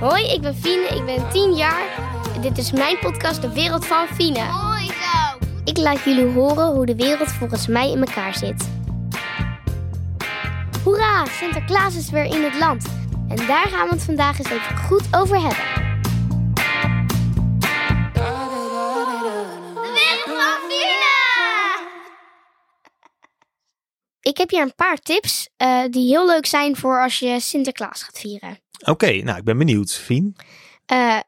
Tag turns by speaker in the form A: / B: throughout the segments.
A: Hoi, ik ben Fine, ik ben 10 jaar. Dit is mijn podcast De Wereld van Fine.
B: Mooi zo.
A: Ik laat jullie horen hoe de wereld volgens mij in elkaar zit. Hoera, Sinterklaas is weer in het land. En daar gaan we het vandaag eens even goed over hebben.
B: De wereld van Fina.
A: Ik heb hier een paar tips eh, die heel leuk zijn voor als je Sinterklaas gaat vieren.
C: Oké, nou ik ben benieuwd, Fien.
A: Eh,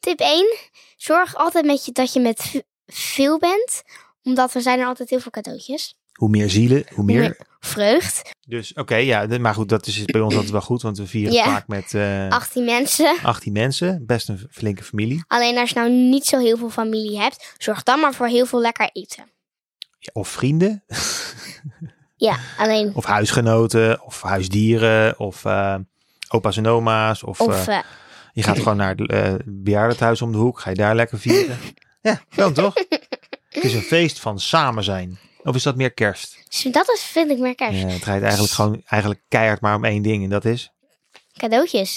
A: tip 1. Zorg altijd met je, dat je met v- veel bent. Omdat er zijn er altijd heel veel cadeautjes.
C: Hoe meer zielen, hoe meer...
A: meer- Vreugd.
C: Dus oké, ja, de- maar goed, dat is bij ons altijd wel goed, want we vieren
A: Ja.
C: vaak met eh
A: 18 mensen.
C: 18 mensen. Best een flinke familie.
A: Alleen als je nou niet zo heel veel familie hebt. Zorg dan maar voor heel veel lekker eten.
C: Ja, Of vrienden,
A: Ja, alleen.
C: of huisgenoten, of huisdieren, of eh, opa's en oma's. Of,
A: Of
C: eh,
A: eh,
C: je gaat gewoon naar het eh, bejaardentehuis om de hoek, ga je daar lekker vieren. ja, wel toch? Het is een feest van samen zijn. Of is dat meer kerst?
A: dus dat is, vind ik meer
C: Ja,
A: kerst.
C: het draait eigenlijk gewoon eigenlijk keihard maar om één ding en dat is...
A: Cadeautjes.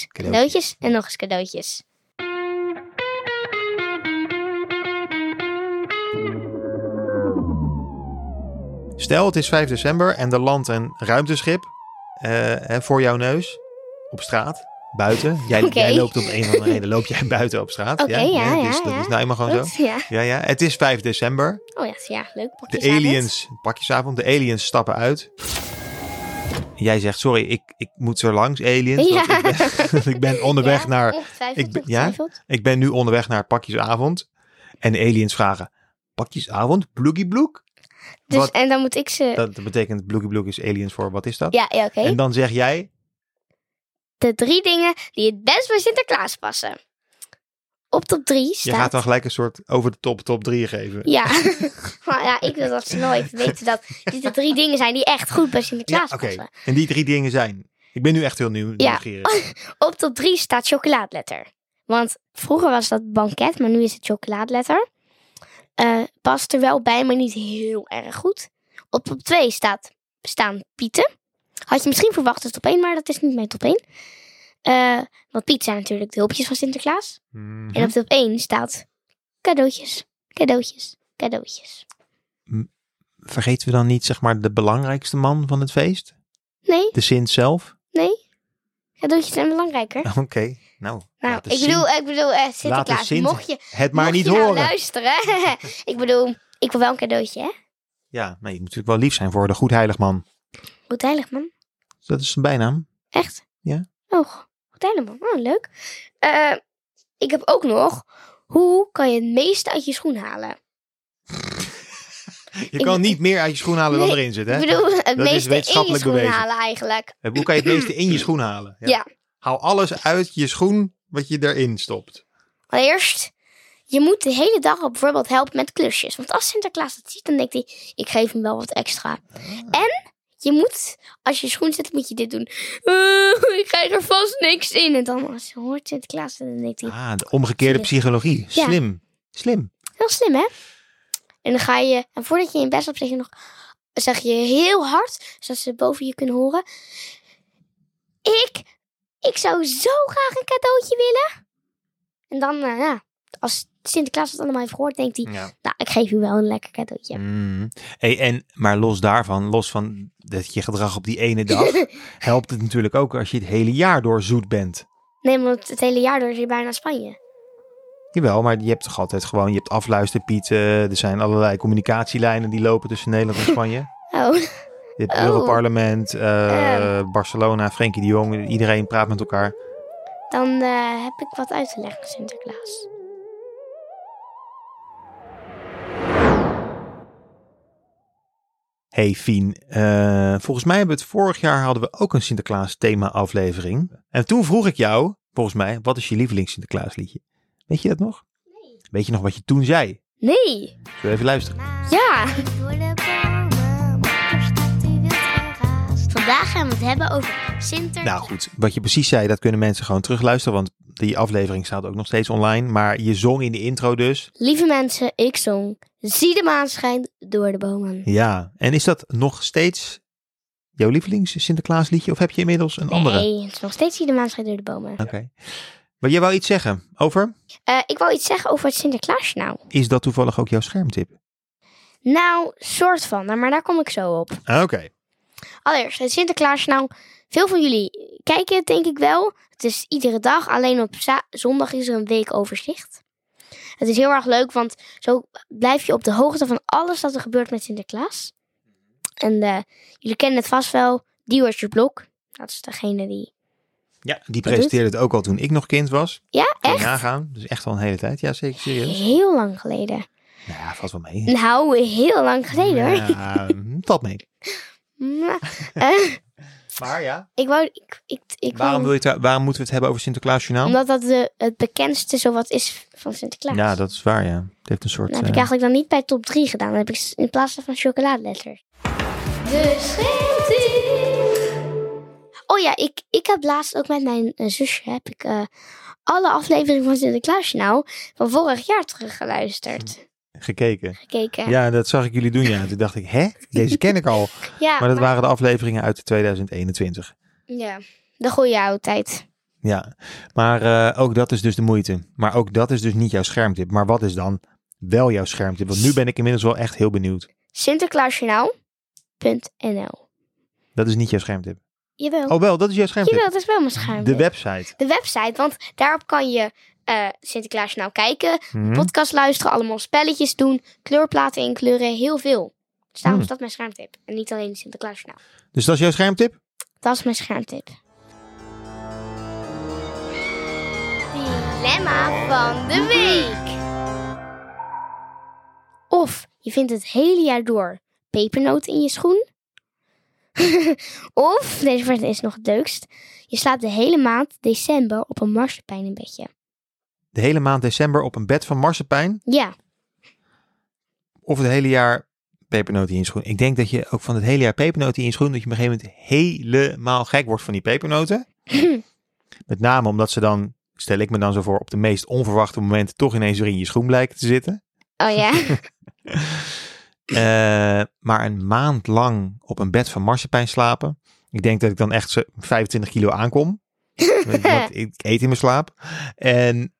C: Cadeautjes.
A: Cadeautjes en nog eens cadeautjes.
C: Stel, het is 5 december en er landt een ruimteschip eh, hè, voor jouw neus op straat, buiten. Jij,
A: Oké.
C: jij loopt om een of andere reden loop jij buiten op straat.
A: Oké, ja,
C: hè,
A: ja,
C: dus dat
A: ja.
C: is nou eenmaal gewoon zo.
A: Goed, ja.
C: Ja, ja. Het is 5 december.
A: Oh ja, ja leuk. Pak
C: De
A: je sabelt.
C: aliens, pakjesavond, de aliens stappen uit. Jij zegt, sorry, ik, ik moet zo langs, aliens. want
A: Ja.
C: Ik, ben, ik ben onderweg
A: Ja,
C: naar
A: Ongetwijfeld,
C: ik ben- ja?
A: ongetwijfeld.
C: Ik ben nu onderweg naar pakjesavond. En de aliens vragen: Pakjesavond? Bloegie bloek?
A: Dus,
C: Wat-
A: en dan moet ik ze...
C: Dat betekent bloegie bloek is aliens voor wat is dat?
A: Ja, ja oké.
C: En dan zeg jij:
A: De drie dingen die het best bij Sinterklaas passen. Op top 3
C: Je
A: staat...
C: gaat dan gelijk een soort over de top top 3 geven.
A: Ja. maar ja, ik wil dat ze nooit weten dat dit de drie dingen zijn die echt goed bij Sinterklaas
C: Ja, oké.
A: passen.
C: En die drie dingen zijn. Ik ben nu echt heel nieuw.
A: Ja.
C: nieuwsgierig.
A: Op top 3 staat chocoladeletter. Want vroeger was dat banket, maar nu is het chocoladeletter. Eh, past er wel bij, maar niet heel erg goed. Op top 2 staat, staan pieten. Had je misschien verwacht als top 1, maar dat is niet mijn top 1. Eh, want pieten zijn natuurlijk de hulpjes van Sinterklaas.
C: Mhm.
A: En op top 1 staat cadeautjes, cadeautjes, cadeautjes.
C: Vergeten we dan niet, zeg maar, de belangrijkste man van het feest?
A: Nee,
C: De Sint zelf?
A: nee. Cadeautjes zijn belangrijker.
C: Oké. Nou,
A: Nou,
C: laat de
A: ik
C: Sint
A: bedoel, ik bedoel eh,
C: Laat
A: Sinterklaas,
C: de Sint-
A: mocht je,
C: het maar
A: mocht
C: niet
A: je nou
C: horen.
A: luisteren. ik bedoel, ik wil wel een cadeautje, hè?
C: ja, nee, je moet natuurlijk wel lief zijn voor de Goedheilig Man.
A: Goed heilig, man.
C: Dat is zijn bijnaam.
A: Echt?
C: Ja.
A: Oh, goed heilig, man. Oh, leuk. Eh, ik heb ook nog, hoe kan je het meeste uit je schoen halen?
C: Je
A: Ik-
C: kan niet meer uit je schoen halen dan
A: Nee,
C: erin zit, hè?
A: Ik bedoel, het
C: is
A: meeste in je
C: wetenschappelijk
A: schoen
C: bewezen.
A: halen eigenlijk.
C: Eh, Hoe kan je het meeste in je schoen halen?
A: Ja.
C: Haal alles uit je schoen wat je erin stopt.
A: Allereerst, je moet de hele dag al bijvoorbeeld helpen met klusjes. Want als Sinterklaas dat ziet, dan denkt hij, ik geef hem wel wat extra.
C: Ah.
A: En je moet, als je schoen zet, moet je dit doen. Eh, ik krijg er vast niks in. En dan als je hoort Sinterklaas, dan denkt hij,
C: Ah, de
A: Slim.
C: omgekeerde psychologie.
A: Ja.
C: Slim. Slim.
A: heel slim hè? En dan ga je, en voordat je in bed op zeg je nog, zeg je heel hard, zodat ze boven je kunnen horen. Ik, ik zou zo graag een cadeautje willen. En dan, eh, ja, als Sinterklaas het allemaal heeft gehoord, denkt hij,
C: Ja.
A: Nou, ik geef u wel een lekker cadeautje.
C: Mm. Hey, en, maar los daarvan, los van dat je gedrag op die ene dag, helpt het natuurlijk ook als je het hele jaar door zoet bent.
A: Nee, want het hele jaar door is je bijna naar Spanje.
C: Jawel, maar je hebt toch altijd gewoon, je hebt afluisterpieten, er zijn allerlei communicatielijnen die lopen tussen Nederland en Spanje.
A: Oh,
C: Je hebt
A: Oh.
C: Europarlement, eh,
A: Ehm.
C: Barcelona, Frenkie de Jong, iedereen praat met elkaar.
A: dan eh, heb ik wat uit te leggen, Sinterklaas.
C: Hey Fien, eh, volgens mij hebben we het vorig jaar hadden we ook een Sinterklaas thema aflevering. En toen vroeg ik jou, volgens mij, wat is je lievelings Sinterklaas liedje? Weet je dat nog? Weet je nog wat je toen zei?
A: Nee.
C: Zullen we even luisteren?
A: Ja.
B: Door de bomen, moeder staat die wild verrast.
A: Vandaag gaan we het hebben over Sinter.
C: Nou goed, wat je precies zei, dat kunnen mensen gewoon terugluisteren, want die aflevering staat ook nog steeds online. Maar je zong in de intro dus.
A: Lieve mensen, ik zong. Zie de maan schijnt door de bomen.
C: Ja, en is dat nog steeds jouw lievelings Sinterklaas liedje of heb je inmiddels een andere?
A: Nee, het is nog steeds zie de maan schijnt door de bomen.
C: Oké. Maar jij wou iets zeggen over?
A: Eh, ik wil iets zeggen over het Sinterklaasjournaal.
C: Is dat toevallig ook jouw schermtip?
A: Nou, soort van, nou, maar daar kom ik zo op.
C: Ah, Oké.
A: Allereerst, het Sinterklaasjournaal. Veel van jullie kijken het denk ik wel. Het is iedere dag, alleen op za- zondag is er een weekoverzicht. Het is heel erg leuk, want zo blijf je op de hoogte van alles dat er gebeurt met Sinterklaas. En eh, jullie kennen het vast wel, Diewertje Blok. Dat is degene die...
C: Ja, die presenteerde het ook al toen ik nog kind was.
A: Ja,
C: Kun je
A: echt?
C: nagaan. Dus echt al een hele tijd. Ja, zeker serieus.
A: Heel lang geleden.
C: Nou ja, valt wel mee.
A: Nou, heel lang geleden hoor.
C: Ja, mm, valt mee.
A: Maar, eh,
C: Maar ja.
A: ik wou... Ik, ik, ik
C: Waarom,
A: wou-
C: wil je het, daar- waarom moeten we het hebben over Sinterklaasjournaal?
A: Omdat dat de, het bekendste zowat is van Sinterklaas.
C: Ja, dat is waar, ja. Het heeft een soort...
A: Dat heb ik
C: eh,
A: eigenlijk dan niet bij top 3 gedaan. Dat heb ik s- in plaats van chocoladeletters. De schilding. Oh ja, ik, ik heb laatst ook met mijn eh, zusje heb ik, eh, alle afleveringen van Sinterklaasjournaal van vorig jaar teruggeluisterd.
C: gekeken.
A: Gekeken.
C: Hm. Ja, dat zag ik jullie doen, ja. Toen dacht ik, hè? Deze ken ik al.
A: ja,
C: Maar dat
A: maar-
C: waren de afleveringen uit 2021.
A: ja, de goede oude tijd.
C: Ja, maar eh, ook dat is dus de moeite. Maar ook dat is dus niet jouw schermtip. Maar wat is dan wel jouw schermtip? Want nu ben ik inmiddels wel echt heel benieuwd.
A: Sinterklaasjournaal.nl
C: Dat is niet jouw schermtip.
A: Jawel.
C: Oh wel, dat is jouw schermtip.
A: Jawel, dat is wel mijn scherm.
C: De website.
A: de website, want daarop kan je eh Sinterklaasjournaal kijken,
C: Hm?
A: podcast luisteren, allemaal spelletjes doen, kleurplaten inkleuren, heel veel. Dus daarom
C: Hmm.
A: is dat mijn schermtip. En niet alleen Sinterklaasjournaal.
C: Dus dat is jouw schermtip?
A: Dat is mijn schermtip. Dilemma van de week. Of je vindt het hele jaar door pepernoot in je schoen. of, deze versie is nog het leukst, je slaapt de hele maand december op een marsepein in bedje.
C: De hele maand december op een bed van marsepein?
A: Ja,
C: Of het hele jaar pepernoten in je schoen? Ik denk dat je ook van het hele jaar pepernoten in je schoen... dat je op een gegeven moment helemaal gek wordt van die pepernoten. Met name omdat ze dan, stel ik me dan zo voor... op de meest onverwachte momenten toch ineens weer in je schoen blijken te zitten.
A: oh ja.
C: Eh, maar een maand lang op een bed van marsepein slapen. Ik denk dat ik dan echt zo 25 kilo aankom. Want- want ik eet in mijn slaap. En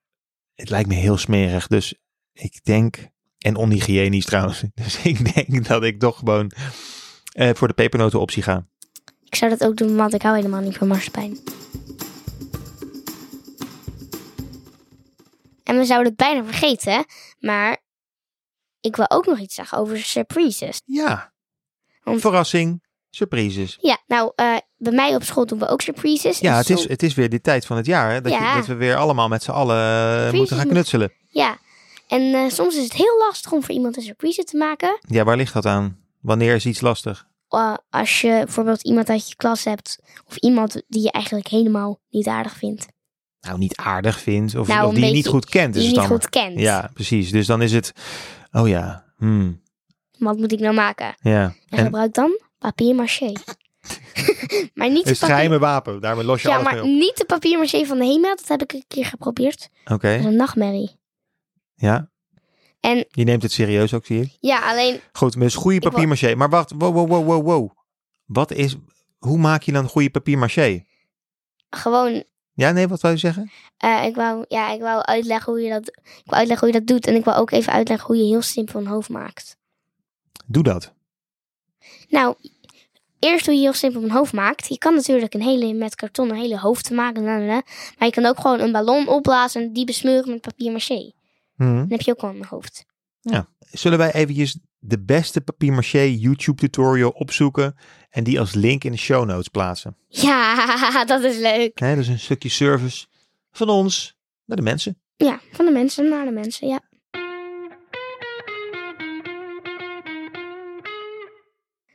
C: het lijkt me heel smerig. Dus ik denk. En onhygiënisch trouwens. Dus ik denk dat ik toch gewoon eh, voor de pepernoten optie ga.
A: Ik zou dat ook doen, want ik hou helemaal niet van marsepein. En we zouden het bijna vergeten, maar ik wil ook nog iets zeggen over surprises.
C: Ja.
A: Om-
C: Verrassing. Surprises.
A: Ja, nou, eh, bij mij op school doen we ook surprises.
C: Ja,
A: En
C: het is,
A: zo-
C: het is weer die tijd van het jaar. Hè, dat,
A: Ja.
C: je, dat we weer allemaal met z'n allen eh, moeten gaan
A: moeten-
C: knutselen.
A: Ja, en eh, soms is het heel lastig om voor iemand een surprise te maken.
C: Ja, waar ligt dat aan? Wanneer is iets lastig?
A: Eh, als je bijvoorbeeld iemand uit je klas hebt, of iemand die je eigenlijk helemaal niet aardig vindt.
C: nou niet aardig vindt of,
A: Nou,
C: of
A: een
C: die je niet
A: beetje-
C: goed kent.
A: Die
C: Is
A: je
C: het
A: niet
C: dan.
A: goed kent.
C: Ja, precies. Dus dan is het, oh ja, hmm,
A: Wat moet ik nou maken?
C: ja.
A: En,
C: En
A: gebruik dan papier maché. maar niet de
C: het
A: papier...
C: geheime wapen, daarmee los je
A: Ja,
C: alles mee
A: maar
C: op.
A: niet de papier maché van de HEMA. Dat heb ik een keer geprobeerd.
C: Oké,
A: Dat is een nachtmerrie.
C: ja.
A: En-
C: Je neemt het serieus ook, zie ik.
A: Ja, alleen...
C: Goed, dus goede
A: wou-
C: papier-maché. Maar wacht, wow, wow, wow, wow, wow. Wat is, hoe maak je dan goede papier-maché?
A: Gewoon...
C: Ja, nee, wat wou je zeggen?
A: eh, ik, wou, ja, ik wou uitleggen hoe je dat... Ik wou uitleggen hoe je dat doet. En ik wou ook even uitleggen hoe je heel simpel een hoofd maakt.
C: Doe dat.
A: Nou... Eerst hoe je heel simpel een hoofd maakt. Je kan natuurlijk een hele, met karton een hele hoofd maken. la, la, la. Maar je kan ook gewoon een ballon opblazen en die besmeuren met papier maché.
C: Hmm.
A: Dan heb je ook al een hoofd.
C: Zullen wij eventjes de beste papier-maché YouTube tutorial opzoeken en die als link in de show notes plaatsen?
A: Ja, dat is leuk.
C: Hè, dus een stukje service van ons naar de mensen.
A: Ja, van de mensen naar de mensen, ja.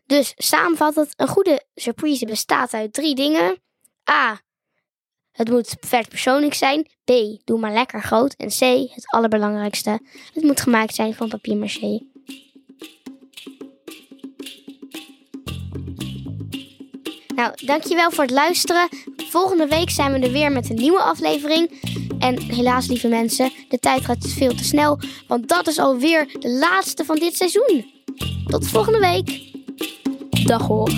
A: Dus samenvattend, een goede surprise bestaat uit drie dingen. A. Het moet verpersoonlijk zijn. B. Doe maar lekker groot. En C. Het allerbelangrijkste. Het moet gemaakt zijn van papier maché. Nou, dankjewel voor het luisteren. Volgende week zijn we er weer met een nieuwe aflevering. En helaas, lieve mensen, de tijd gaat veel te snel, want dat is alweer de laatste van dit seizoen. Tot volgende week. Dag hoor.